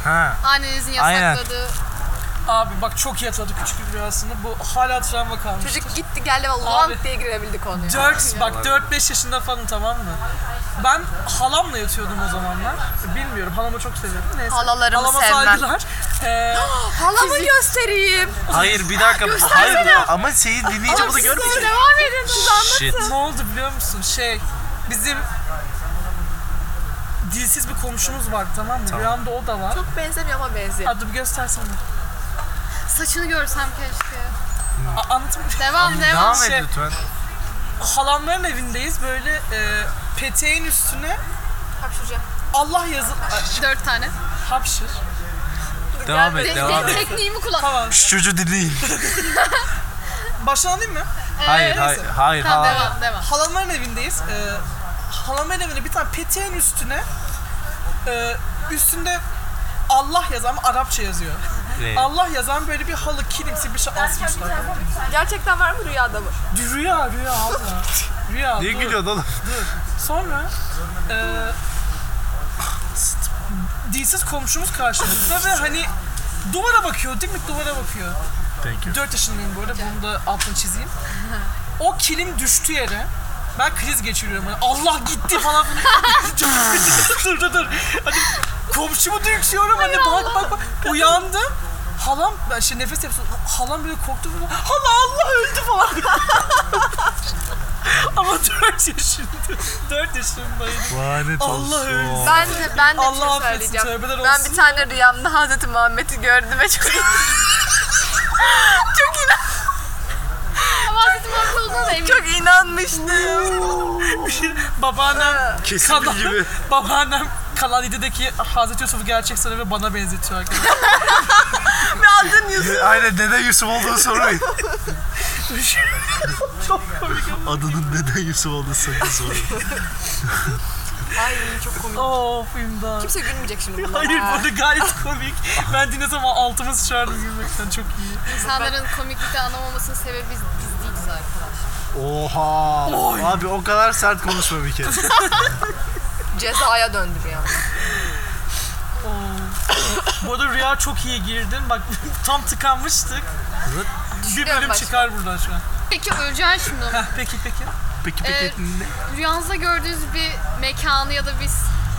Ha.
Annenizin
Aynen.
yasakladığı
Abi bak çok iyi hatırladı küçük bir rüyasını. Bu hala travma kalmış.
Çocuk gitti geldi ve
Abi.
lan diye girebildi konuya.
4 bak 4 5 yaşında falan tamam mı? Ben halamla yatıyordum o zamanlar. Bilmiyorum halamı çok seviyorum. Neyse.
Halalarımı
Halama
sevmem.
saygılar. Ee,
Halamı göstereyim.
Hayır bir dakika. Hayır ama şeyi dinleyince bunu görmeyecek.
Devam edin.
Shit.
ne oldu biliyor musun? Şey bizim dilsiz bir komşumuz var tamam mı? Rüyamda o da var.
Çok benzemiyor ama benziyor.
Hadi bir göstersene.
Saçını görsem keşke.
A- anlatayım.
Devam devam.
Devam
şey-
et lütfen.
Halamların evindeyiz böyle e, peteğin üstüne
Hapşıracağım.
Allah yazı
Dört tane.
hapşır.
Devam et
De-
devam
de-
et.
tekniğimi kullan.
Tamam.
Şu çocuğu dinleyin.
Başlanayım mı?
Hayır, hayır, hayır,
Ee, Tamam
hayır.
devam devam.
Halamların evindeyiz. Ee, halamların evinde bir tane peteğin üstüne e, üstünde Allah yazan ama Arapça yazıyor.
Ee,
Allah yazan böyle bir halı kilimsi bir şey asmışlar.
Gerçekten var mı rüyada mı?
Rüya rüya abla. Rüya.
Niye
dur.
gülüyorsun oğlum?
Sonra eee dilsiz komşumuz karşımızda ve hani duvara bakıyor değil mi? Duvara bakıyor.
Thank you.
4 yaşındayım bu arada bunu da altını çizeyim. O kilim düştü yere ben kriz geçiriyorum. Hani Allah gitti falan filan. dur dur dur. Hani komşumu da yüksüyorum. Hani bak bak bak. Uyandım. Halam, ben şey nefes yapsın. Halam böyle korktu falan. Hala Allah öldü falan. Ama 4 yaşında. 4 yaşındayım.
Lanet
Allah
olsun.
öldürsün.
Ben de, ben de
Allah
bir şey
affetsin,
söyleyeceğim.
tövbeler
Ben
olsun.
bir tane rüyamda Hazreti Muhammed'i gördüm ve çok çok inan
Ama Hazreti Muhammed olduğuna da eminim.
çok inanmıştım.
babaannem
Kesin
kalan,
gibi.
babaannem kalan yedideki Hazreti Yusuf'u gerçek sanıyor ve bana benzetiyor arkadaşlar.
Ve aldın Yusuf.
Aynen dede Yusuf olduğunu sormayın.
Çok komik.
Adının dede Yusuf olduğunu sakın sormayın.
Ay çok komik.
Of imdat.
Kimse gülmeyecek şimdi bunlara.
Hayır bu da gayet komik. Ben dinlesem altıma sıçardım gülmekten çok iyi.
İnsanların komiklikte anlamamasının sebebi biz, biz değiliz arkadaşlar.
Oha. Abi o kadar sert konuşma bir kere.
Cezaya döndü bir an.
Of. bu arada Rüya çok iyi girdin. Bak tam tıkanmıştık.
Evet.
Bir bölüm
başka.
çıkar buradan şu an.
Peki öleceğin şimdi onu.
Heh, peki peki.
Peki
Ee,
peki. ne?
Rüyanızda gördüğünüz bir mekanı ya da bir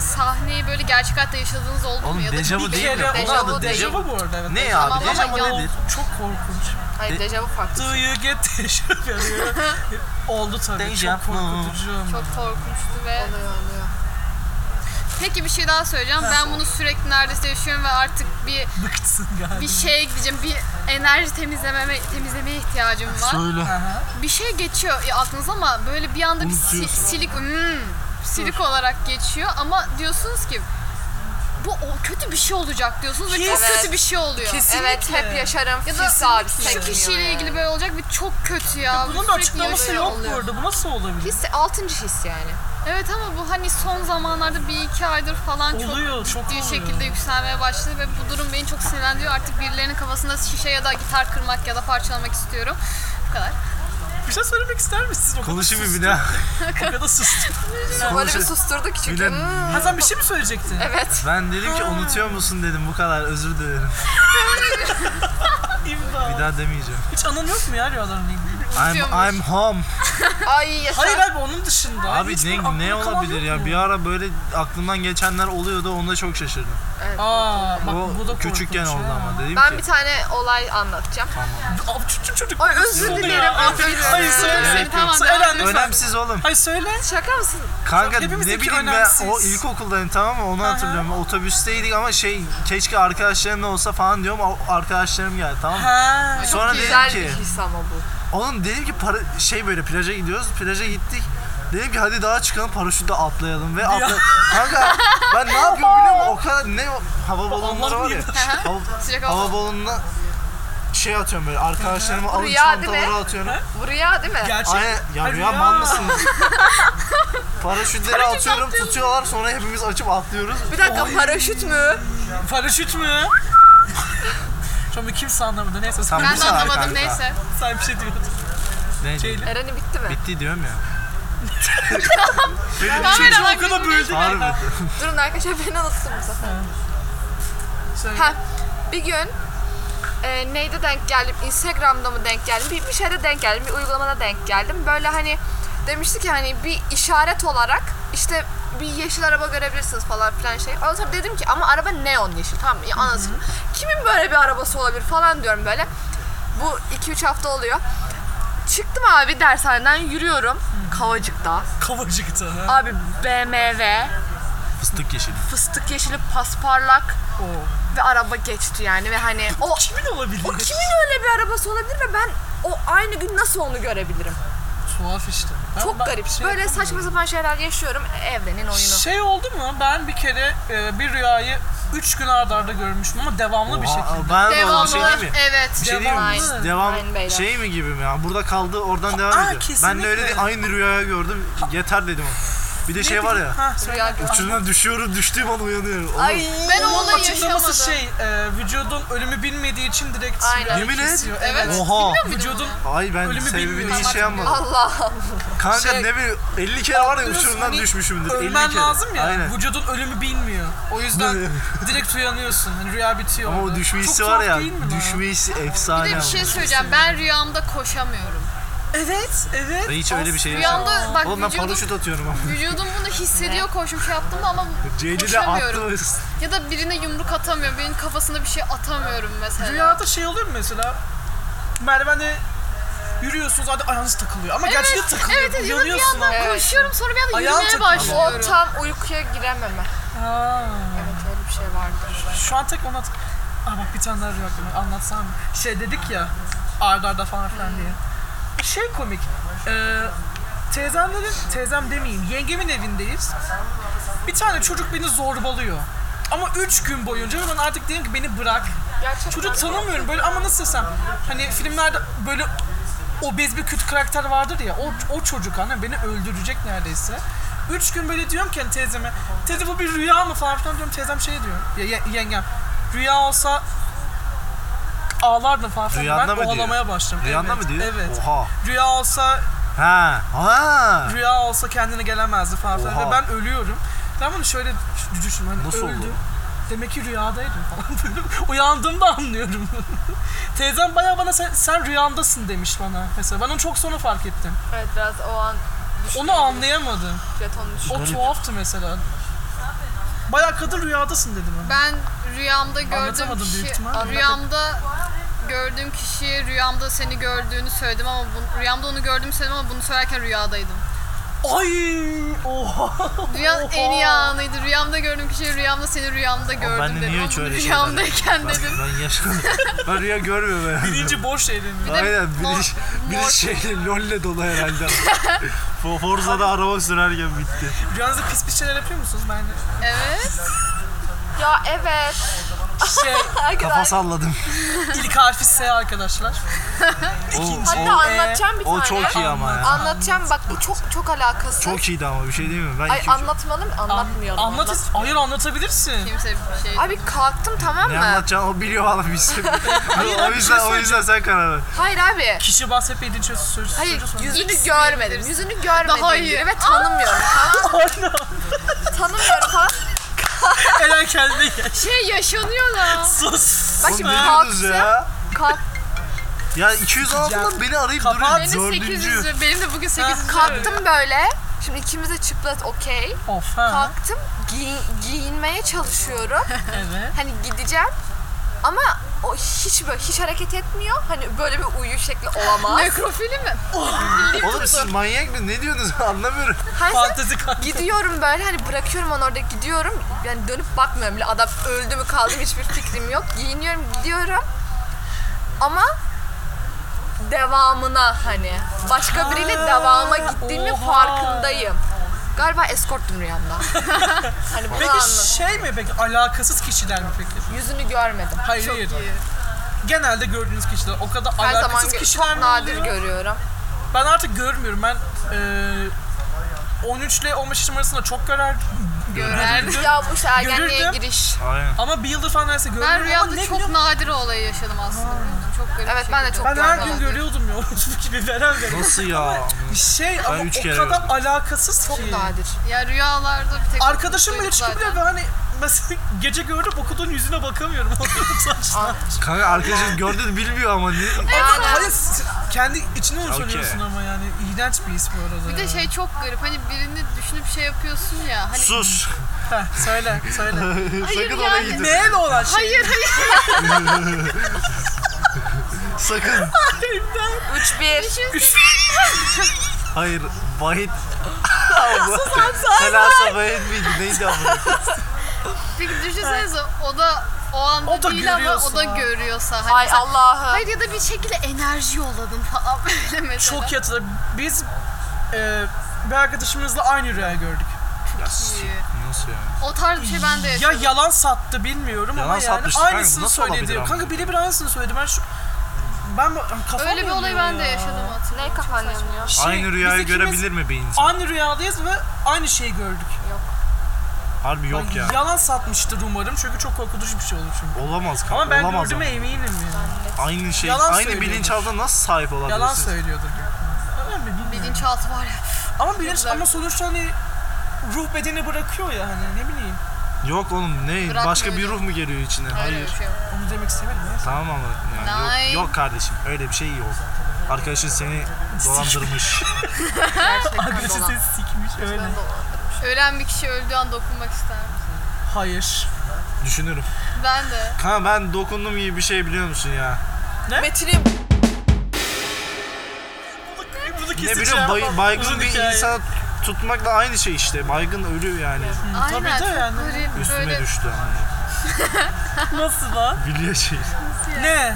sahneyi böyle gerçek hayatta yaşadığınız oldu mu?
Oğlum,
ya da
dejavu
bir-
Bir
Değil
kere
mi?
o
Dejavu
da
değil.
dejavu bu arada. Evet.
Ne
Dejavu.
abi?
Tamam ama
Dejavu
yalan.
nedir?
Çok korkunç.
Hayır dejavu farklı.
Do you get dejavu? Oldu tabii.
Dejavu.
Çok korkutucu. ama.
Çok korkunçtu ve...
Oluyor oluyor.
Peki bir şey daha söyleyeceğim. Ben bunu sürekli neredeyse yaşıyorum ve artık bir
Bıktın galiba.
bir
şey
şeye gideceğim. Bir enerji temizlememe, temizlemeye ihtiyacım var.
Söyle.
Aha.
Bir şey geçiyor ya aklınız ama böyle bir anda bir si-
Unutuyorsun.
silik hmm, silik olarak geçiyor ama diyorsunuz ki bu o- kötü bir şey olacak diyorsunuz ve çok
Kesin.
kötü bir şey oluyor.
Kesinlikle.
Evet hep yaşarım.
Ya
Ya
da
abi.
şu
tek
kişiyle
yani.
ilgili böyle olacak bir çok kötü ya. Bu
Bunun da
sürekli
açıklaması
yaşıyor.
yok bu arada. Bu nasıl olabilir?
His, altıncı his yani.
Evet ama bu hani son zamanlarda bir iki aydır falan
Oluyor,
çok
çok
ciddi
oluyor.
şekilde yükselmeye başladı ve bu durum beni çok sinirlendiriyor. Artık birilerinin kafasında şişe ya da gitar kırmak ya da parçalamak istiyorum. Bu kadar.
Bir şey söylemek ister misiniz? O kadar
Konuşayım mı
sustum,
bir daha?
O kadar sustum.
Böyle bir
Konuşayım.
susturdu ki çünkü.
Şey, Bilen-
"Hmm,
Ha sen bir şey mi söyleyecektin?
Evet.
Ben dedim ki unutuyor musun dedim bu kadar özür dilerim.
İmdat.
Bir daha demeyeceğim.
Hiç anan yok mu ya rüyalarla ilgili?
I'm, I'm home.
Ay yaşa.
Hayır abi onun dışında.
Abi
Hiç böyle
ne,
aklına
ne
kalan
olabilir
yok
ya?
mu?
Bir ara böyle aklımdan geçenler oluyordu onda çok şaşırdım.
Aa bak
o
bu da
küçükken
korkunç
oldu
ya. şey
ama dedim
Ben
ki.
bir tane olay anlatacağım.
Abi çocuk çocuk.
Ay, özür
Oluyor
dilerim,
ya.
affedersin.
Hayır söyle.
Evet, tamam,
Söyle
devam
anne, lütfen.
Önemsiz oğlum.
Hayır söyle.
Şaka mısın?
Kanka ne
Hepimizdeki
bileyim ben
önemsiz.
o ilkokuldayım tamam mı onu hatırlıyorum. Otobüsteydik ama şey keşke arkadaşlarımla olsa falan diyorum o- arkadaşlarım geldi tamam mı?
Ha.
Sonra dedim
Güzel bir
ki
his ama bu.
oğlum dedim ki para şey böyle plaja gidiyoruz plaja gittik. Dedim ki hadi dağa çıkalım paraşütle atlayalım ve atla. Kanka ben ne yapıyorum biliyor musun? O kadar ne o- hava balonları var ya.
Aha.
Hava,
Sıcak hava
hava balonuna şey atıyorum böyle arkadaşlarımı alıp
Rüya değil mi? Şey,
çantaları atıyorum.
Bu rüya değil mi?
Gerçek.
Aynen ya rüya mal mısınız? Paraşütleri atıyorum tutuyorlar sonra hepimiz açıp atlıyoruz.
Bir dakika paraşüt mü?
Paraşüt mü? Şu an bir kimse anlamadı. Neyse
Tamam.
sen,
Ben de
Güzel
anlamadım
kanka.
neyse.
sen bir şey diyordun.
Ne?
Şeyli.
Eren'i bitti mi?
Bitti diyorum ya.
Çocuğu
Kameralar
o kadar böldü.
Harbi.
Durun arkadaşlar ben anlattım bu sefer.
Söyle.
Ha, bir gün e, neyde denk geldim? Instagram'da mı denk geldim? Bir, bir şeyde denk geldim. Bir uygulamada denk geldim. Böyle hani demişti ki hani bir işaret olarak işte bir yeşil araba görebilirsiniz falan filan şey. Ondan sonra dedim ki ama araba neon yeşil tamam mı? Ya anasını. Kimin böyle bir arabası olabilir falan diyorum böyle. Bu 2-3 hafta oluyor. Çıktım abi dershaneden yürüyorum. Kavacık'ta.
Kavacıktı. ha.
Abi BMW,
Fıstık yeşili.
fıstık yeşili pasparlak
Oo.
ve araba geçti yani ve hani o
Kimin olabilir?
o kimin öyle bir arabası olabilir ve ben o aynı gün nasıl onu görebilirim?
Tuhaf işte. Ben-
Çok
ben
garip.
şey
Böyle
yapamıyorum.
saçma sapan şeyler yaşıyorum. Evrenin oyunu.
Şey oldu mu? Ben bir kere e, bir rüyayı 3 gün arda arda görmüştüm ama devamlı bir
Oha,
şekilde.
Ben de
Devamlı.
bir şey değil mi? Bir
Evet.
şey değil mi?
Devamlı.
Devam
Aynen beyler.
şey mi gibi mi ya? Burada kaldı oradan devam
Aa,
ediyor. Ben de
kesinlikle.
öyle değil, aynı rüyaya gördüm. Yeter dedim. Bir de şey var ya.
Ha, söyle.
Uçurumdan düşüyorum, düştüğüm an uyanıyorum. Oğlum,
Ben
Onun
onları yaşamadım.
açıklaması şey, e, vücudun ölümü bilmediği için direkt
Aynen.
rüyayı
Yemin et.
kesiyor.
Evet.
Oha.
Vücudun
Ay ben
Ölümü
sebebini
bilmiyorum.
hiç şey yapmadım.
Allah.
Kanka
Şey-
ne bileyim 50 kere var ya
Biliyorsun
uçurumdan
hani
düşmüşümdür. 50
Ölmen
kere.
lazım ya.
Aynen.
Vücudun ölümü bilmiyor. O yüzden direkt uyanıyorsun. Hani rüya bitiyor.
Ama o
orada.
düşme
Çok
hissi
tuhaf
var ya.
değil mi lan?
Düşme hissi efsane.
Bir de bir
ama.
şey söyleyeceğim. Ben rüyamda koşamıyorum.
Evet, evet.
Ben hiç öyle bir şey yapmadım.
Rüyamda bak
Oğlum ben
vücudum,
paraşüt atıyorum ama.
vücudum bunu hissediyor koşmuş yaptım da ama
Ceylin de
koşamıyorum.
attı.
Ya da birine yumruk atamıyorum. Birinin kafasına bir şey atamıyorum mesela.
Rüyada şey oluyor mu mesela? Merdivende yürüyorsunuz hadi ayağınız takılıyor. Ama gerçekten takılıyor.
Evet, evet ya da bir
Uyanıyorsun
yandan
ama.
koşuyorum sonra bir anda
Ayağım
yürümeye
takılıyor.
O
başlıyorum.
tam uykuya girememe.
Aa.
Evet öyle bir şey vardır.
Şu an tek ona... Aa bak bir tane daha rüya aklıma anlatsam mı? Şey dedik ya arda arda falan filan diye. Şey komik. E, teyzemlerin, teyzem demeyeyim yengemin evindeyiz. Bir tane çocuk beni zorbalıyor. Ama üç gün boyunca ve ben artık dedim ki beni bırak.
Gerçekten
Çocuğu tanımıyorum böyle ama nasıl desem. Hani filmlerde böyle obez bir kötü karakter vardır ya. O, o çocuk hani beni öldürecek neredeyse. Üç gün böyle diyorum ki hani teyzeme. Teyze bu bir rüya mı falan filan diyorum. Teyzem şey diyor. Ya, ye- yengem. Rüya olsa ağlardım falan. filan.
Rüyanda
ben
mı diyor?
ağlamaya başladım.
Rüyanda
Evet,
mı diyor?
Evet.
Oha.
Rüya olsa
Ha. Ha.
rüya olsa kendine gelemezdi falan filan. Ve
Oha.
ben ölüyorum. Ben bunu şöyle düş- düşün hani
Nasıl
öldü.
oldu?
Demek ki rüyadaydım falan böyle. Uyandığımda anlıyorum. Teyzem bayağı bana sen, sen rüyandasın demiş bana. Mesela ben onu çok sonra fark ettim.
Evet biraz o an
Onu anlayamadım.
jeton düşüyor.
O tuhaftı mesela. Bayağı kadın rüyadasın dedim ona.
Ben rüyamda gördüğüm
Anlatamadım büyük
kişi,
ihtimal. Anladım.
rüyamda gördüğüm kişiye rüyamda seni gördüğünü söyledim ama bu, rüyamda onu gördüğümü söyledim ama bunu söylerken rüyadaydım.
Ay! Oha!
Rüyanın
Oha!
en iyi anıydı. Rüyamda gördüğüm kişiyi rüyamda seni rüyamda gördüm
ben de
dedim.
niye
Ama
hiç
bunu
öyle şeyler
rüyamdayken
Ben,
dedim.
ben yaşadım. ben rüya görmüyorum herhalde.
Birinci boş elini.
Aynen
mor-
bir iş,
mor-
bir şeyle lolle dolu herhalde. For- Forza'da araba sürerken bitti.
Rüyanızda pis pis şeyler yapıyor musunuz? Ben
Evet.
Ya evet.
şey
Kafa salladım.
ilk harfi S arkadaşlar.
O,
Hatta
o,
anlatacağım bir
o
tane.
çok iyi ama ya.
Anlatacağım bak bu çok çok alakası.
Çok iyiydi ama bir şey değil mi? Ben
Ay
iki-
anlatmalı mı? Anlatmayalım.
Anlat.
anlat-
Hayır anlatabilirsin.
Kimse bir şey.
Abi kalktım tamam
ne
mı?
anlatacaksın o biliyor valla bizim. o
abi, bir şey
yüzden, o yüzden sen karar ver.
Hayır abi.
Kişi bahs hep yedinci söz söz.
Hayır yüzünü
X
görmedim.
diyebiliriz.
Yüzünü görmedim.
Daha iyi.
Ve tanımıyorum.
Aynen.
tanımıyorum falan.
Eren kendine gel.
Şey yaşanıyor da.
Sus.
Bak
Oğlum
şimdi
ne
kalktı.
diyorsunuz ya?
Kalk,
Ya 206'dan beni arayıp
Kapat.
duruyor.
Benim 800
Dördüncü.
lira. Benim de bugün 800 lira.
kalktım böyle. Şimdi ikimiz de çıplak okey.
Of ha.
Kalktım giyin- giyinmeye çalışıyorum.
Evet.
Hani gideceğim. Ama o hiç böyle hiç hareket etmiyor. Hani böyle bir uyu şekli olamaz.
Nekrofili mi?
Oğlum siz manyak mı? Ne diyorsunuz anlamıyorum.
Her sefer
Fantezi kanka.
gidiyorum böyle hani bırakıyorum onu orada gidiyorum. Yani dönüp bakmıyorum bile adam öldü mü kaldı mı hiçbir fikrim yok. Giyiniyorum gidiyorum. Ama devamına hani başka biriyle devama gittiğimi
oha.
farkındayım. Galiba eskorttum rüyamda. hani bunu
Peki
anladım.
şey mi peki? Alakasız kişiler mi peki?
Yüzünü görmedim.
Hayır
Çok
hayır.
iyi.
Genelde gördüğünüz kişiler o kadar
Her zaman
alakasız
gö-
kişiler
çok
mi
nadir
oluyor?
görüyorum.
Ben artık görmüyorum. Ben eee 13 ile 15 yaşım arasında çok görer, görürdüm.
Ya bu işte ergenliğe
Görürdüm.
giriş.
Aynen.
Ama bir yıldır falan neredeyse görmüyorum
Ben
ama ne
rüyamda çok
bileyim-
nadir o olayı yaşadım aslında. Çok garip
Evet,
bir
ben de
şekilde.
çok
Ben her gün
görmedim.
görüyordum ya. Orospu gibi veren veren.
Nasıl ya?
Şey ama
üç
o
kere
kadar
gördüm.
alakasız
Çok
ki.
nadir.
Ya rüyalarda bir tek
Arkadaşım bile
mutluyum
çıktı
zaten.
bile ve hani mesela gece gördüm okuduğun yüzüne bakamıyorum. Saçlar.
Kanka arkadaşın gördü de bilmiyor ama. Ne?
Ama Hayır s- kendi içine onu
Okey.
söylüyorsun ama yani iğrenç bir his bu arada.
Bir de
ya.
şey çok garip. Hani birini düşünüp şey yapıyorsun ya. Hani
Sus.
Heh, söyle söyle.
Hayır
Sakın
yani.
oraya gitme.
Neye de olan şey?
hayır hayır
Sakın.
3-1.
Hayır. Vahit. Selasa Vahit miydi? Neydi ama?
Peki düşünsenize o da o anda
O da
değil ama
görüyorsun
o da
ha.
görüyorsa. Hani
Ay
sen-
Allah'ım.
Hayır ya da bir şekilde enerji yolladın falan böyle mesela.
Çok yatılır. Biz e, bir arkadaşımızla aynı rüya gördük.
Ya, Şey, nasıl yani?
O tarz bir şey ben de
Ya
yaşadım.
yalan sattı bilmiyorum
Yalan
ama yani
satmış, kanka, bu
aynısını
nasıl olabilir
söyledi.
ama?
Kanka birebir aynısını söyledi. Ben şu ben bu- kafam
Öyle bir olayı
yanıyor
ben de
ya.
yaşadım hatırlıyorum.
Ne
Çok
kafan
saçma.
yanıyor?
Şey,
aynı rüyayı
biz ikimiz
görebilir mi bir insan?
Aynı rüyadayız ve aynı şeyi gördük.
Harbi yok ya.
Yalan satmıştır umarım çünkü çok korkutucu bir şey olur çünkü.
Olamaz kanka.
Ama ben
olamaz
gördüğüme eminim yani.
Aynı şey,
Yalan
aynı
söylüyordur.
bilinçaltına nasıl sahip olabilirsiniz?
Yalan söylüyordur. Öyle mi bilmiyorum.
Bilinçaltı var ya.
Ama bilinç
Yapılar-
ama sonuçta hani ruh bedeni bırakıyor ya hani ne bileyim.
Yok oğlum ne?
Bırakmıyor
Başka bir
diyor.
ruh mu geliyor içine?
Öyle
Hayır.
bir şey yok.
Onu demek istemedim ya.
Tamam ama yani
Nein.
yok, yok kardeşim öyle bir şey yok. Arkadaşın seni dolandırmış.
Arkadaşı seni sikmiş öyle.
Ölen bir kişi öldüğü an dokunmak ister misin?
Hayır.
Düşünürüm.
Ben de.
Kanka ben dokundum gibi bir şey biliyor musun ya?
Metin'im
Bunu, bunu
Ne
keseceğim.
biliyorum bay, baygın
şey Uzun
bir
hikaye.
insana tutmakla aynı şey işte. Baygın ölüyor yani.
Aynen
tabii de
çok
yani.
garip
Üstüme
böyle.
düştü yani.
Nasıl lan?
Biliyor şey.
Ne?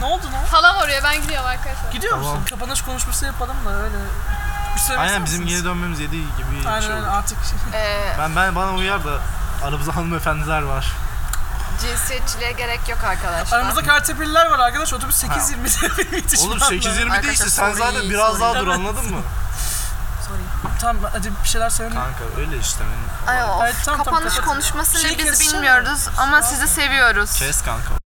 Ne oldu lan?
Halam oraya ben gidiyorum arkadaşlar.
Gidiyor
Tamam.
musun? Kapanış konuşması yapalım da öyle. Bir söylemek ister
Aynen bizim
misiniz?
geri dönmemiz 7 gibi bir
Aynen
şey
aynen,
oldu.
artık.
Ee,
Ben, ben bana uyar da aramızda hanımefendiler var.
cinsiyetçiliğe gerek yok arkadaşlar.
Aramızda kartepilliler var arkadaş. Otobüs
Ha.
8.20'de yetişmez.
Oğlum 8.20 değilse
Arkadaşlar,
sen
sorry,
zaten biraz
sorry.
daha dur anladın mı?
Tamam hadi bir şeyler söyle.
Kanka öyle işte benim.
Ay, of,
Evet, tamam, tamam,
kapanış
kapat.
konuşmasını
Şey
biz
kessene.
bilmiyoruz ama sizi seviyoruz.
Kes kanka.